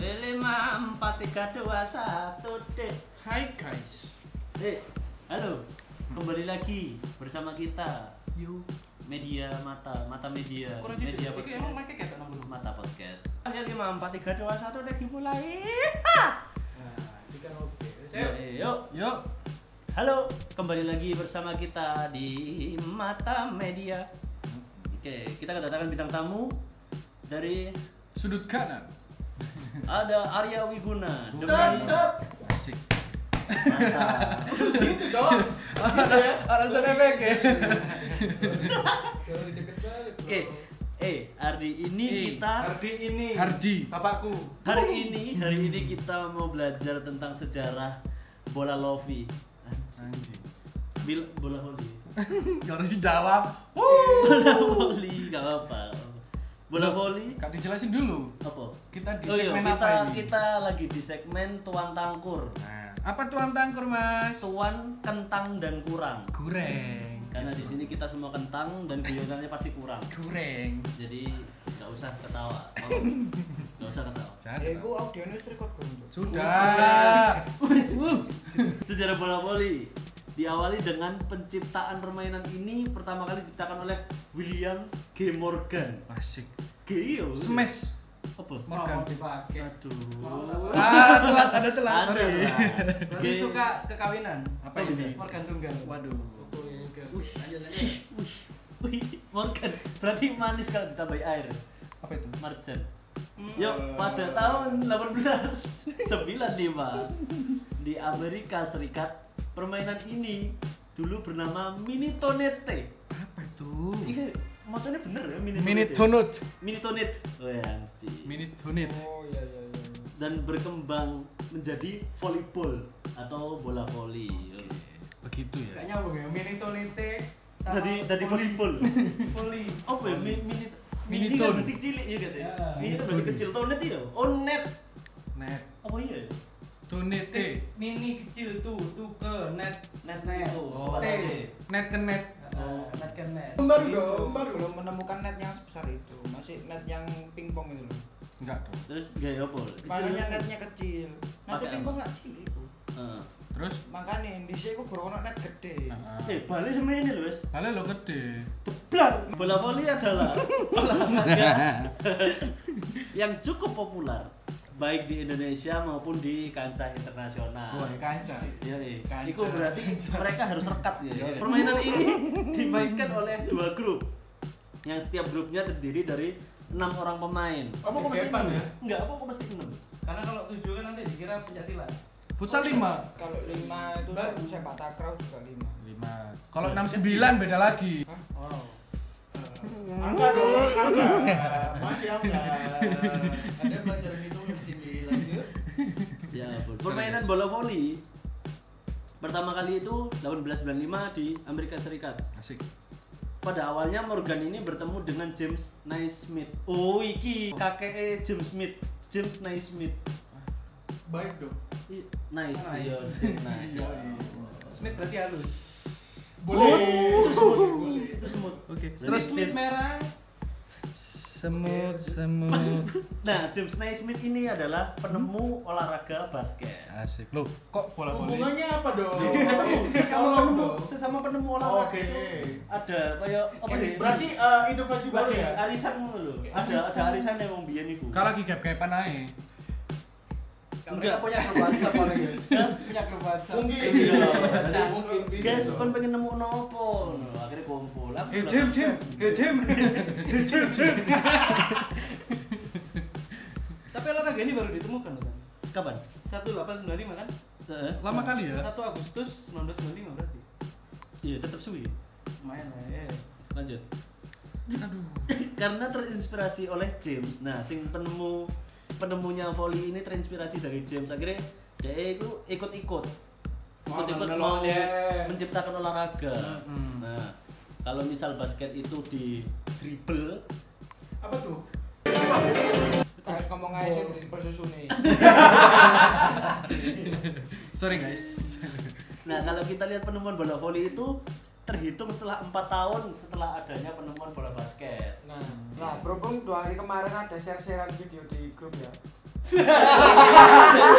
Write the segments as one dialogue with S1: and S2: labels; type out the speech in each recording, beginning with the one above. S1: lima empat tiga dua satu deh
S2: Hai guys.
S1: deh halo kembali lagi bersama kita
S2: Yo.
S1: media mata mata media
S2: Kurang
S1: media
S2: jadi. Iki emang make kayak nang bulu.
S1: mata podcast kalian lima empat tiga dua satu deh dimulai
S2: Nah, iki kan oke.
S1: yuk yuk
S2: Yo.
S1: halo kembali lagi bersama kita di mata media oke kita kedatangan bintang tamu dari
S2: Sudut kanan.
S1: ada Arya Wiguna
S3: Sep,
S1: Dengan-
S3: sep.
S2: Asik.
S1: Mantap.
S3: Terus gitu, Cok. Gitu
S2: Iya.
S3: ya.
S2: Alasan efek ya.
S3: Jangan dideket-deket, bro.
S1: oke eh Ardi ini
S2: Eh,
S1: kita
S3: Hardi ini.
S2: Hardi.
S3: Bapakku.
S1: Hari ini, hari ini kita mau belajar tentang sejarah bola lofi.
S2: Anjing.
S1: Bil bola voli.
S2: Gak harus dijawab. Wuh.
S1: Bola voli enggak apa. Bola voli
S2: Kak dijelasin dulu.
S1: apa?
S2: Kita di
S1: Oh iya,
S2: segmen
S1: kita
S2: apa ini?
S1: kita lagi di segmen tuan tangkur.
S2: Nah, apa tuan tangkur mas?
S1: Tuan kentang dan kurang.
S2: Goreng.
S1: Karena di sini kita semua kentang dan guyonannya pasti kurang.
S2: Goreng.
S1: Jadi nggak usah ketawa. Mau? Nggak usah ketawa.
S2: Jangan.
S3: Ya, iku audionya wis record, Bro.
S2: Sudah.
S1: Sejarah bola voli diawali dengan penciptaan permainan ini pertama kali diciptakan oleh William G. Morgan.
S2: Asik.
S1: G. yo.
S2: Smash.
S1: Apa?
S3: Mau
S2: Morgan.
S3: dipakai.
S1: Aduh.
S2: Ah, telat, ada telat,
S1: Ada
S2: sorry.
S1: lah.
S3: Berarti
S1: G-
S3: suka kekawinan.
S2: Apa
S1: Apa
S2: ini?
S1: sih?
S3: Organ tunggal.
S2: Waduh.
S3: Oke, oke.
S1: Wih, wih, Morgan. Berarti manis kalau ditambahi air.
S2: Apa itu?
S1: Marjan.
S3: Hmm.
S1: Yuk, pada tahun 1895 di Amerika Serikat, permainan ini dulu bernama Minitonette.
S2: Apa itu?
S1: Ini macamnya bener ya
S2: Minute
S1: Minitonette.
S2: Donut.
S1: Minitonit. Oh ya, sih.
S2: Minute Donut.
S3: Oh, iya iya iya.
S1: dan berkembang menjadi volleyball atau bola voli. Oh, iya.
S2: Begitu
S4: iya.
S3: Gak
S2: ya.
S3: nyambung ya. Mini tolite. sama
S1: Dari dari volleyball.
S3: Poli.
S1: Apa ya? Mi, mini mini
S2: Miniton.
S1: kan berarti cilik ya guys ya.
S3: Ya,
S1: Mini kan
S2: miniton.
S1: berarti kecil tonet ya. Oh net.
S2: Net e.
S1: Apa iya? ya?
S2: Donut T.
S3: Mini kecil tuh, tuh ke net net
S1: Oh,
S2: T.
S1: T.
S2: Net ke net.
S3: Oh, net ke net.
S4: Baru dong, baru dong menemukan net yang sebesar itu. Masih net yang pingpong itu loh.
S2: Enggak dong.
S1: Terus gaya apa? Kecil.
S4: Padahal netnya kecil. Net
S1: Pakai apa?
S4: pingpong nggak cilik itu.
S1: Heeh.
S2: Terus
S4: Makanya di sini aku kurang net gede.
S1: Eh,
S2: Heeh.
S1: balik sama ini loh, Wes.
S2: Kalian lo gede.
S1: Beblang. Bola voli adalah olahraga yang cukup populer baik di Indonesia maupun di kancah internasional.
S2: Wah,
S3: Kanca.
S1: Iya, iya.
S2: Oh, Kancah.
S1: Iku berarti mereka harus rekat ya.
S2: Iya, iya.
S1: Permainan ini dimainkan oleh dua grup. Yang setiap grupnya terdiri dari enam orang pemain.
S3: Apa kok mesti enam ya?
S1: Enggak, apa kok mesti enam?
S3: Karena kalau tujuh kan nanti dikira pencaksilat.
S2: Futsal 5.
S4: Kalau lima itu
S3: Baru.
S4: baru sepak takraw juga lima.
S2: 5. Kalau 69 beda lagi.
S3: Wow.
S4: Angka dong, angka. Masih angka.
S3: Ada pelajaran itu di sini lanjut.
S1: Ya, ampun. Permainan bola voli pertama kali itu 1895 di Amerika Serikat.
S2: Asik.
S1: Pada awalnya Morgan ini bertemu dengan James Naismith. Oh, iki kakeknya James Smith. James Naismith.
S3: Baik dong.
S1: I- Nice,
S3: Nice.
S1: iya, James Nice.
S2: Iya,
S3: Smith berarti halus.
S1: Boleh. Itu semut. Itu semut.
S2: Oke.
S1: Terus Nah,
S2: Terus
S3: Smith merah.
S2: semut semut
S1: Nah, James Naismith ini adalah penemu olahraga basket.
S2: asik lo kok bola voli
S3: Hubungannya apa dong?
S1: Penemu, sesama
S3: Tolong
S1: penemu,
S3: dong.
S1: sesama penemu olahraga
S3: Oh. Oke.
S1: itu ada kayak apa ya?
S3: Berarti eh, inovasi baru
S1: Berarti
S3: ya.
S1: arisan dulu. Ada ada arisan yang wong biyen iku.
S2: kalau lagi gap gapan aja
S1: Enggak.
S3: punya grup WhatsApp orang ya. Punya grup WhatsApp.
S1: Mungkin.
S3: Ada Iya. mungkin bisa.
S1: Iya. Guys, kon pengen nemu nopo? Loh, Akhirnya kumpul. Aku kan.
S2: Eh,
S1: belum-
S2: Jim, Jim.
S4: Eh, Jim. Eh, Jim, Jim.
S3: Tapi olahraga ini baru ditemukan kan?
S1: Kapan? Eh,
S3: 1895 kan?
S1: Heeh.
S2: lama kali ya
S3: 1 Agustus 1995 berarti.
S1: Iya, tetap suwi.
S3: Lumayan lah ya.
S1: Lanjut.
S2: aduh
S1: Karena terinspirasi oleh James. Nah, sing penemu penemunya voli ini terinspirasi dari James. Akhirnya dia itu ikut-ikut. Ikut-ikut
S3: Oh,
S1: mau
S3: iya.
S1: menciptakan olahraga.
S2: Mm-mm.
S1: Nah, kalau misal basket itu di dribble,
S3: Apa tuh?
S4: Kayak ngomong aja sih di persusu nih.
S2: sorry guys
S1: Nah, kalau kita lihat penemuan bola voli itu terhitung setelah empat tahun setelah adanya penemuan bola basket.
S3: Nah,
S4: Nah, berhubung dua hari kemarin ada share-sharean video di grup ya.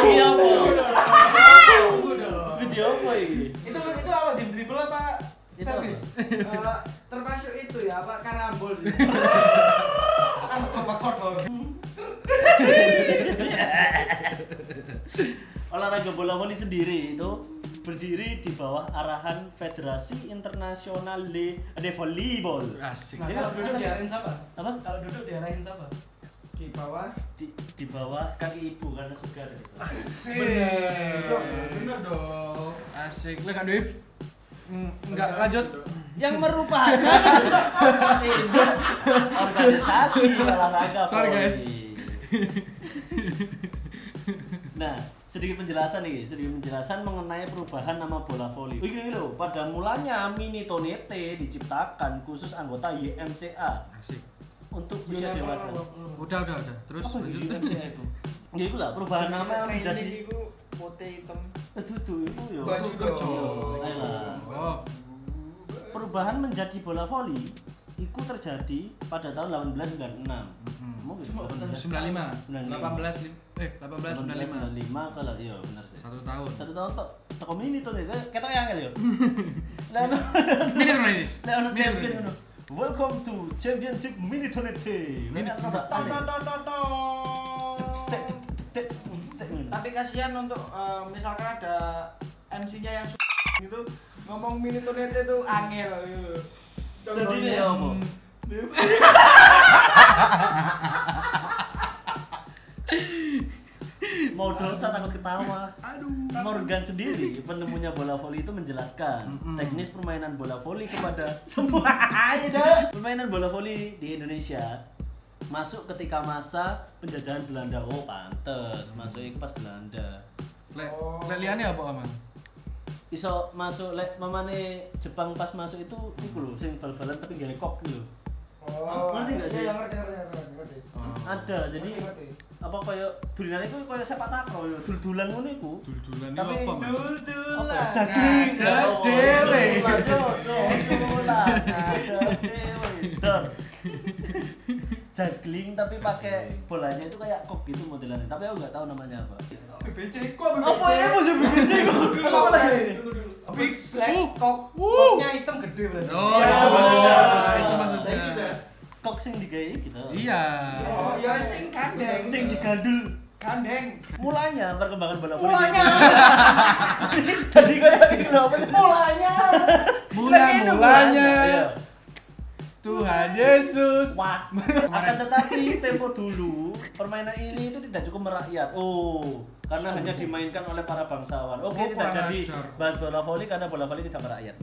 S1: Iya, Bu.
S3: Tunggu dong.
S1: Video apa ini?
S3: Itu itu apa tim dribble apa
S1: Itu
S3: servis?
S4: Eh, termasuk itu ya, Pak Karambol.
S3: Kan kompak short
S1: Olahraga bola voli sendiri itu berdiri di bawah arahan Federasi Internasional de, de Volleyball.
S2: Asik.
S3: Nah, kalau duduk diarahin siapa?
S1: Apa?
S3: Kalau duduk diarahin siapa?
S4: Di bawah.
S1: Di, di bawah kaki ibu karena gitu. suka dari itu.
S4: Dong,
S2: Asik.
S4: bener dong.
S2: Asik. Lek Kak Dewi. Mm, Enggak lanjut.
S1: Yang merupakan organisasi olahraga.
S2: Sorry, guys.
S1: voli. Nah, sedikit penjelasan nih, sedikit penjelasan mengenai perubahan nama bola voli. Oh, Ini loh, pada mulanya mini tonete diciptakan khusus anggota YMCA
S2: Asik.
S1: untuk usia dewasa.
S2: Oh. Udah, udah, udah. Terus
S1: Apa ini
S2: lanjut.
S1: YMCA itu? Ya itu lah perubahan nama
S4: Training gitu.
S1: menjadi
S4: iku pote hitam.
S1: itu itu yo.
S3: Baju kerja.
S1: Ayolah.
S2: Oh,
S1: Perubahan menjadi bola voli itu terjadi pada tahun 1896.
S2: Mm-mm.
S1: Mungkin
S3: Cuma bentar,
S2: 95.
S1: 95.
S2: 18 lim- eh 18 95.
S1: 95 kalau iya benar sih.
S2: Satu tahun.
S1: Satu tahun tok teko mini tuh nih, kita yang angel yo. Lah ono
S2: Ini tuh ini.
S1: lah ono
S2: Mini
S1: champion
S2: turun
S1: ngono. Welcome to Championship Mini Tonete.
S2: Mini
S1: Wena
S2: Tonete.
S1: Tonete. Tek,
S4: Tapi-
S1: tek, tek, tek, tek, tek.
S4: Tapi kasihan untuk eh, misalkan ada MC-nya yang su- gitu ngomong mini tonete itu angel gitu.
S1: Jadi ini ya apa? Mau dosa takut ketawa.
S2: Aduh.
S1: Morgan sendiri, penemunya bola voli itu menjelaskan
S2: Mm-mm.
S1: teknis permainan bola voli kepada semua Aida. Permainan bola voli di Indonesia masuk ketika masa penjajahan Belanda. Oh, pantes. Masuknya pas Belanda.
S2: Lek
S4: Oh.
S2: lek liane apa aman?
S1: Iso masuk lek mamane Jepang pas masuk itu iku lho sing bal-balan tapi gak kok gitu.
S4: Oh,
S1: Ngerti nggak sih?
S4: Iya, ngerti ngerti ngerti ngerti.
S2: Oh.
S1: Ada. Jadi
S4: Ngerti, ngerti.
S1: apa koyo dulinane iku koyo sepak takraw yo dul-dulan ngono iku.
S2: Dul-dulan ini
S4: Tapi
S2: apa, Mas?
S1: Apa?
S4: dul-dulan.
S1: Jagling.
S2: Ada
S1: Ya Allah,
S2: dewe.
S1: dul-dulan, dul, dul, dulan. Ada dewe. Dul. Jagling tapi pakai
S2: Jagling.
S1: bolanya itu kayak kok gitu modelannya. Tapi aku nggak tahu namanya apa.
S4: ya?
S3: PBC ku
S1: Apa ya musuh BBC kok? Apa
S4: ya?
S1: lagi ini?
S3: Big Black
S2: Uh.
S3: Cock.
S2: Uh.
S3: Koknya hitam gede berarti.
S2: Oh,
S1: Ya,
S2: itu
S3: iya.
S2: maksudnya.
S1: bener.
S2: Itu
S3: Thank you,
S2: maksudnya.
S3: Jack.
S1: Kok sing digawe gitu.
S2: Iya.
S4: Oh, ya sing kandeng.
S1: Sing digandul.
S4: kandeng.
S1: Mulanya perkembangan bola voli.
S4: Mulanya.
S1: Jadi kayak gitu loh, apa itu?
S4: Mulanya.
S2: Mula-mulanya
S1: Iya.
S2: Tuhan Yesus.
S1: Wah, akan tetapi tempo dulu permainan ini itu tidak cukup merakyat. Oh, karena hanya dimainkan oleh para bangsawan. Oke,
S2: Oh,
S1: tidak
S2: kurang
S1: jadi
S2: ajar.
S1: bahas bola voli karena bola voli tidak merakyat.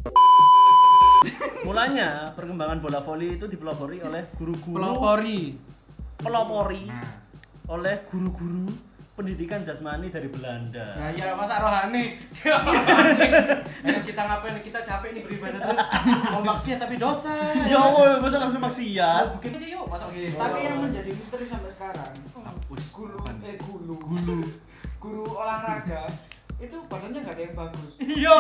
S1: Mulanya perkembangan bola voli itu dipelopori oleh guru-guru
S2: Pelopori.
S1: pelopori
S2: Nah.
S1: oleh guru-guru pendidikan jasmani dari Belanda.
S3: Nah, ya masa rohani. Ayo kita ngapain? Kita capek nih beribadah terus. Mau maksiat tapi dosa.
S1: Ya Allah, masa langsung maksiat?
S3: Bukan aja yuk, masuk Iya. gini.
S4: Tapi yang menjadi misteri sampai sekarang,
S2: Hapus.
S4: guru
S2: Apaan?
S4: eh guru,
S2: Gulu.
S4: guru olahraga itu badannya nggak ada yang bagus.
S3: Iya.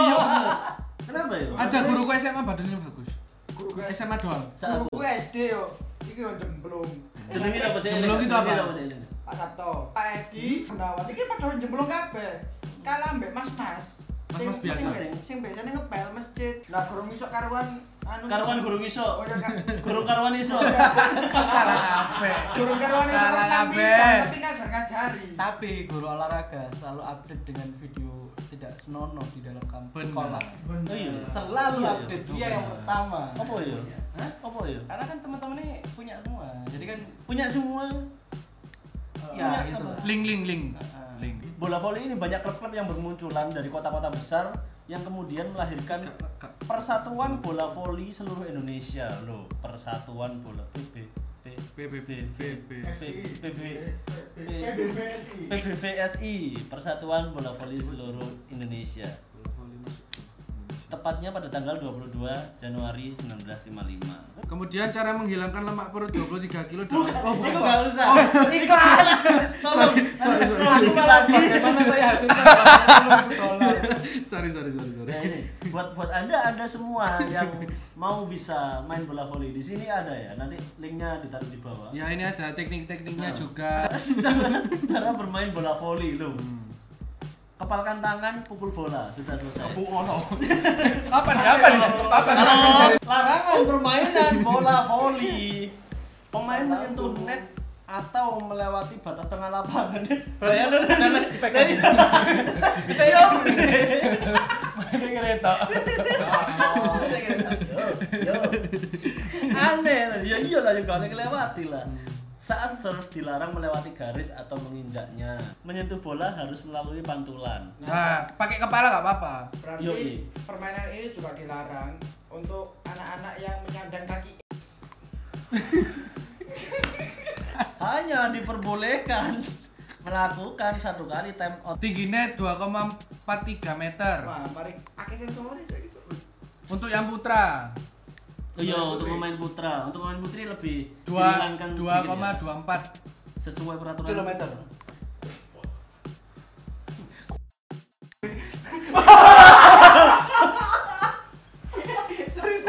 S1: Kenapa ya?
S2: Ada guruku SMA badannya bagus.
S4: Guru gue
S2: SMA doang.
S1: Saat
S4: guru gue SD yo, iki yo jemblung.
S1: jenengin apa sih?
S2: Jemblong itu apa?
S1: Jenengin sih, Elena?
S4: Pak Sabto, Pak Edi, Gunawan, iki padha jemblung kabeh. Kalah mbek mas-mas.
S2: Mas-mas
S4: Sing-
S2: biasa.
S4: Sing, sing biasanya ngepel masjid. Lah gurung iso karuan anu.
S1: Karuan guru
S4: Oh
S1: iso,
S4: ya kan.
S1: guru karuan iso.
S2: Iya. Salah kape.
S4: Gurung karuan iso
S2: Salah
S4: kan
S2: kape.
S4: bisa tapi ngajar-ngajari.
S3: Tapi guru olahraga selalu update dengan video tidak senonoh di dalam kampus
S2: Benar.
S3: sekolah.
S1: Oh iya.
S3: Selalu
S1: Iya,
S3: update dia yang
S2: Benar.
S3: pertama.
S1: Apa ya?
S3: Hah?
S1: Apa ya?
S3: Karena kan teman-temannya punya semua. Jadi kan
S1: Punya semua
S3: ya
S1: punya
S3: itu.
S1: apa?
S2: Link link link. Link.
S1: bola voli ini banyak klub-klub yang bermunculan dari kota-kota besar yang kemudian melahirkan
S2: Kak- kak-
S1: Persatuan Bola Voli seluruh Indonesia loh. Persatuan Bola PB
S2: PBB
S4: PBBSI.
S1: PBVSI Persatuan Bola Voli seluruh Indonesia. tepatnya pada tanggal 22 Januari 1955.
S2: Kemudian cara menghilangkan lemak perut 23 kilo
S1: Bukan,
S2: dengan oh,
S1: itu
S2: bukan.
S1: nggak usah.
S3: Iklan.
S1: Tolong.
S2: Sorry, sorry.
S3: Aku malah bagaimana saya hasilnya 80.000 dolar.
S2: Sorry, sorry, sorry, sorry.
S1: Nah, ini buat buat anda anda semua yang mau bisa main bola voli di sini ada ya. Nanti linknya ditaruh di bawah.
S2: Ya ini ada teknik-tekniknya juga.
S1: cara cara bermain bola voli lo. Kepalkan tangan, pukul bola, sudah selesai.
S2: Bu Ono. Kapan kapan? Kapan kapan
S1: Halo,
S2: cari?
S1: larangan permainan bola voli. Pemain menyentuh net atau melewati batas tengah lapangan. Bayangkan.
S3: Karena dipegang. Bisa yo.
S2: Kereta.
S1: Yo, Aneh lah, ya iyalah juga aneh kelewati lah. Saat serve dilarang melewati garis atau menginjaknya. Menyentuh bola harus melalui pantulan.
S2: Nah, pakai kepala nggak apa-apa.
S4: Berarti
S1: Yoi.
S4: permainan ini juga dilarang untuk anak-anak yang menyandang kaki.
S1: Hanya diperbolehkan melakukan satu kali time out.
S2: Tingginya 2,43 meter.
S4: Wah, mari akeh sensornya kayak gitu.
S2: Untuk yang putra
S1: Oh iya, untuk pemain putra, untuk pemain putri lebih
S2: 2
S1: dihilangkan sedikit ya.
S2: 2,24
S1: sesuai peraturan
S3: Kilometer.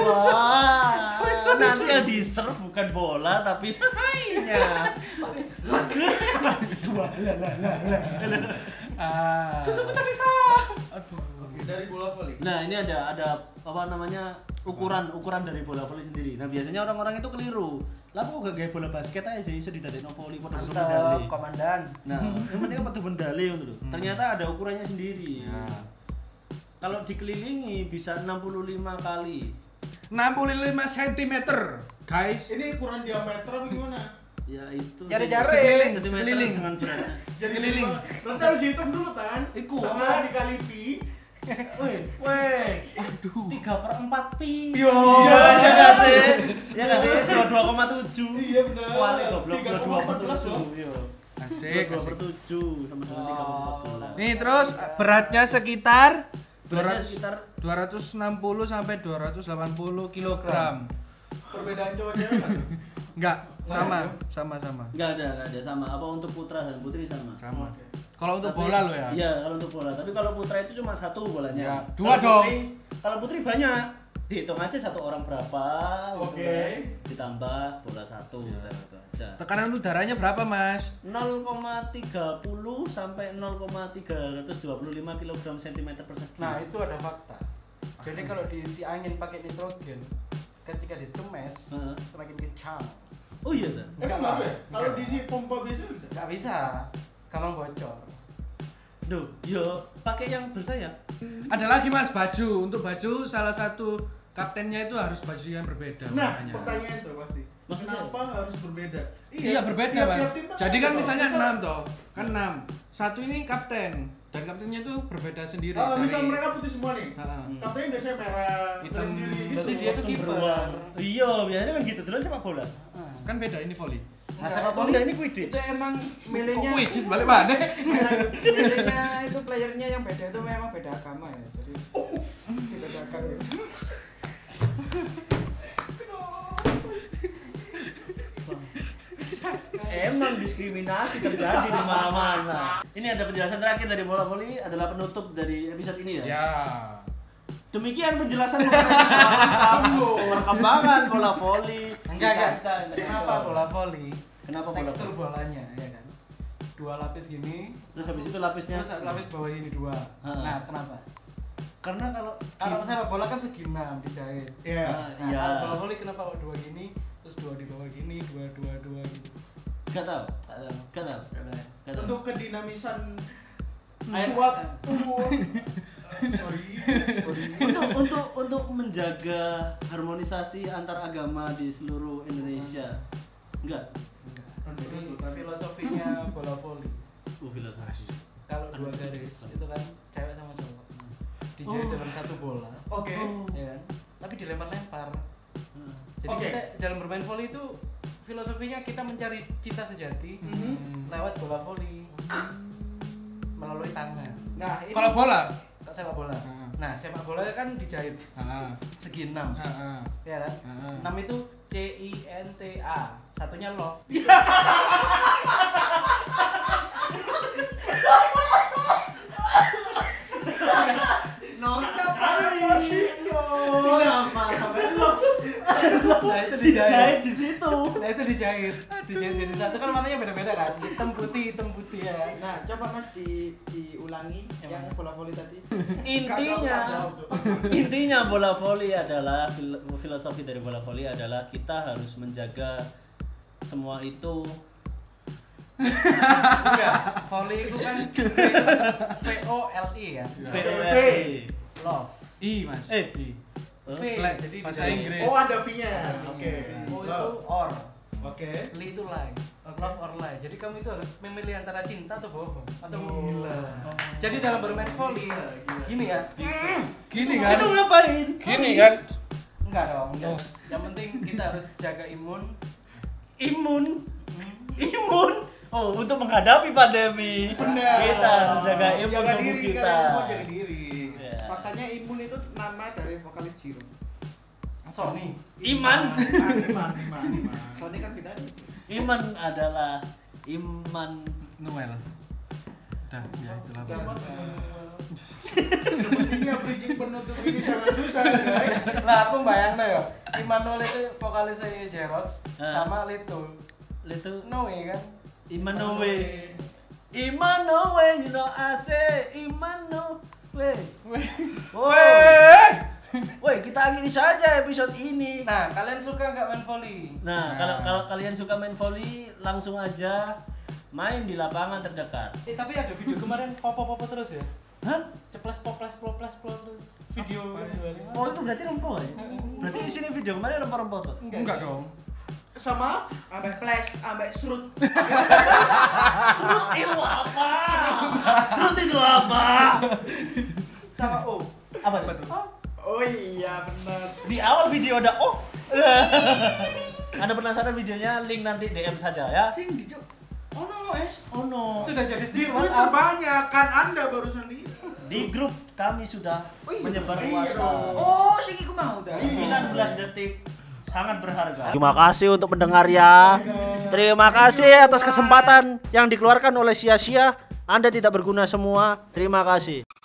S1: Wah, nanti yang di serve bukan bola tapi hainya.
S2: Ah.
S3: Susuku tak bisa.
S2: Aduh.
S4: Dari bola voli.
S1: Nah ini ada ada apa namanya ukuran ukuran dari bola voli sendiri. Nah biasanya orang-orang itu keliru. Lah kok gak kayak bola basket aja sih sedih dari voli pada seru
S3: Mantap,
S1: medali.
S3: komandan.
S1: Nah yang penting apa tuh mendali itu. Ternyata ada ukurannya sendiri.
S2: Hmm. Ya.
S1: Kalau dikelilingi bisa 65 kali.
S2: 65 cm, guys.
S4: Ini ukuran diameter apa gimana?
S1: Ya itu.
S3: Ya, ada
S1: sih.
S3: jarak.
S2: Sekeliling,
S1: Satu meter
S2: sekeliling.
S1: dengan beratnya.
S2: Sekeliling.
S4: Terus harus dihitung dulu kan?
S1: Iku.
S4: Sama dikali pi.
S1: Weh, weh.
S2: Aduh.
S1: tiga per empat pi
S4: Yo.
S1: iya iya nggak sih iya nggak sih dua dua koma tujuh
S4: Iya, benar.
S1: kuali goblok
S4: Tiga
S1: dua
S4: koma
S1: dua per
S4: empat belas,
S1: tujuh iya dua
S2: Asik,
S1: dua per
S2: asik.
S1: tujuh sama dengan tiga per empat belas
S2: Nih terus beratnya sekitar
S1: Beratnya
S2: 200
S1: sekitar
S2: 260 sampai 280 kilogram.
S4: Perbedaan cowok cewek kan?
S2: Enggak, sama, sama, sama,
S1: nggak ada nggak ada sama apa untuk putra dan putri sama
S2: sama.
S4: Oke.
S2: Kalau untuk
S1: Tapi-
S2: bola lo ya.
S1: iya kalau untuk bola tapi kalau putra itu cuma satu bolanya
S2: Iya.
S1: Kalau
S2: Dua dong.
S1: putri- kalau putri banyak dihitung aja satu orang berapa gitu
S4: Oke.
S1: kan. ditambah bola satu
S2: Iya.
S1: udah gitu aja
S2: Tekanan udaranya berapa, Mas?
S1: 0,30 sampai 0,325 kg cm persegi.
S3: Nah, itu ada fakta. Jadi kalau diisi angin pakai nitrogen, ketika ditemes
S1: Heeh.
S3: semakin kencang.
S1: Oh iya dah.
S4: Emang
S3: Enggak,
S4: kenapa ya?
S3: enggak.
S4: Kalau diisi pompa biasa bisa.
S3: Enggak bisa. Kalau bocor.
S1: Duh, yo pakai yang bersayap.
S2: Ada lagi, Mas, baju. Untuk baju salah satu kaptennya itu harus baju yang berbeda
S4: Nah,
S2: makanya.
S4: pertanyaan itu pasti.
S1: Maksudnya?
S4: Kenapa harus berbeda?
S2: Iya berbeda
S4: tiap-tiap
S2: mas.
S4: tim
S2: Jadi kan
S4: ada loh.
S2: misalnya
S4: Misal-
S2: enam toh, kan enam. Satu ini kapten dan kaptennya itu berbeda sendiri.
S4: Ah,
S2: dari-
S4: misal mereka putih semua nih.
S2: Ah, ah.
S4: Kaptennya biasanya merah,
S2: Hitam.
S4: terus sendiri gitu.
S3: Berarti dia tuh
S1: Langsung
S3: kiper.
S1: beruang. Iya, biasanya kan gitu. Dulu sepak bola.
S2: Kan beda ini volley.
S3: Nah,
S1: Enggak,
S3: sepak
S1: itu
S3: bola
S1: enggak, ini Quidditch.
S3: Itu emang
S2: Kok
S3: milihnya
S2: widget balik mana?
S3: milihnya itu playernya yang beda itu memang beda agama ya. Jadi
S4: Oh. dibedakan gitu.
S1: Emang diskriminasi terjadi di mana-mana. Ini ada penjelasan terakhir dari bola voli adalah penutup dari episode ini ya.
S2: Ya.
S1: Demikian penjelasan mengenai kamu perkembangan bola voli.
S3: enggak enggak.
S1: Kaca,
S3: Kenapa bola voli?
S1: Kenapa bola
S3: Tekstur
S1: voli?
S3: bolanya ya kan. Dua lapis gini.
S1: Terus habis itu lapisnya.
S3: Terus lapis bawah ini dua.
S1: Heeh.
S3: Nah, kenapa?
S1: Karena kalau
S3: Kalau sepak bola kan segi enam dijahit.
S4: Iya.
S1: Ah,
S3: Nah,
S1: iya.
S3: kalau bola voli kenapa kok dua gini, terus dua di bawah gini, dua dua dua gitu.
S1: Gak tahu.
S3: Tak tahu.
S1: Gak tahu.
S3: Gak tahu.
S1: Gak tahu.
S4: Untuk kedinamisan
S1: Hmm.
S3: Ayo.
S4: suatu Eh, sorry, sorry.
S1: untuk untuk untuk menjaga harmonisasi antar agama di seluruh Indonesia. Enggak.
S3: Jadi filosofinya bola voli.
S1: Uh, filosofi.
S3: Kalau dua garis itu kan cewek sama cowok. Dijahit
S1: Oh.
S3: dalam satu bola,
S4: Oke.
S1: Oh. Hmm.
S3: ya kan? Tapi dilempar-lempar. Jadi
S4: Oke.
S3: kita dalam bermain voli itu filosofinya kita mencari cita sejati lewat bola voli melalui tangan.
S4: Nah, ini
S2: Kalau bola,
S3: Kok sepak bola?
S2: Ah.
S3: Nah, sepak bola kan dijahit
S2: Ah,
S3: segi enam.
S2: ah, ah.
S3: Ya kan?
S2: Heeh.
S3: Enam itu C I N T A. Satunya love.
S1: Nona sekali. Kenapa sampai love?
S3: Nah, itu dijahit.
S1: Dijahit di situ.
S3: Nah, itu dijahit. Dijahit jadi satu kan warnanya beda-beda kan. Hitam putih, hitam putih ya. kan?
S4: Nah, coba Mas di diulangi
S3: Yang
S4: yang bola voli tadi.
S1: Intinya, intinya bola voli adalah fil- filosofi dari bola voli adalah kita harus menjaga semua itu
S3: Enggak, volley itu kan V O L I ya.
S1: VOLI.
S3: Love.
S2: I mas.
S1: Eh.
S2: I.
S3: V
S2: Flag,
S3: jadi
S2: bahasa
S3: dijahit.
S2: Inggris.
S4: Oh, ada V-nya. Oh, Oke.
S3: O Oh, itu or.
S4: Oke.
S3: Li itu lie. Love or lie. Jadi kamu itu harus memilih antara cinta atau bohong atau
S4: Oh.
S3: gila. Jadi dalam bermain volley gini ya.
S2: Gini kan?
S1: Itu ngapain?
S2: Gini kan?
S3: Enggak dong. enggak.
S2: Oh.
S3: Yang penting kita harus jaga imun. Hmm.
S1: Imun. Imun. Oh, untuk menghadapi pandemi.
S4: Benar.
S1: Kita harus jaga imun
S4: Jaga
S1: tubuh
S4: diri
S1: kita.
S4: kalian semua jaga diri.
S1: Iya.
S4: Faktanya imun itu nama dari vokalis Jiro.
S3: Sony.
S1: Iman.
S4: Iman, iman, iman, iman. Soalnya kan kita
S1: Iman adalah iman.
S2: Noel. Dah, ya itulah.
S4: Gampang. Sepertinya bridging penutup ini sangat susah, guys.
S3: Nah, aku bayangin ya. Immanuel itu vokalisnya Jerox
S1: Eh.
S3: sama Little.
S1: Itu
S3: Noe kan.
S1: Iman no way. Iman no way, you know I say Iman no way.
S4: Oh.
S1: Wow.
S2: Eh,
S1: Woi, kita akhiri saja episode ini.
S3: Nah, kalian suka nggak main volley?
S1: Nah, kalau kalau kalian suka main volley, langsung aja main di lapangan terdekat.
S3: Eh, tapi ada video kemarin popo-popo terus ya.
S1: Hah?
S3: Ceplas poplas poplas poplas. Video
S1: Oh, itu berarti rempong ya? Berarti di sini video kemarin rempong-rempong tuh.
S2: Enggak dong.
S4: Sama ambek flash, ambek serut.
S1: Serut itu apa? Serut itu apa?
S3: sama O.
S1: Apa
S2: Apa
S1: tuh?
S2: tuh?
S4: Oh iya, benar.
S1: Di awal video ada oh. Ada penasaran videonya? Link nanti DM saja ya.
S4: Sing dicuk.
S3: Oh no, es.
S1: Oh no.
S3: Sudah jadi
S4: Di
S3: stiker
S4: Twitter
S3: WhatsApp.
S4: banyak kan Anda barusan lihat.
S1: Di grup kami sudah menyebar
S4: Iya dong.
S1: luas.
S4: Oh, sing iku mau dah.
S1: 19 detik sangat berharga. Terima kasih untuk mendengar ya. Terima kasih atas kesempatan yang dikeluarkan oleh sia-sia. Anda tidak berguna semua. Terima kasih.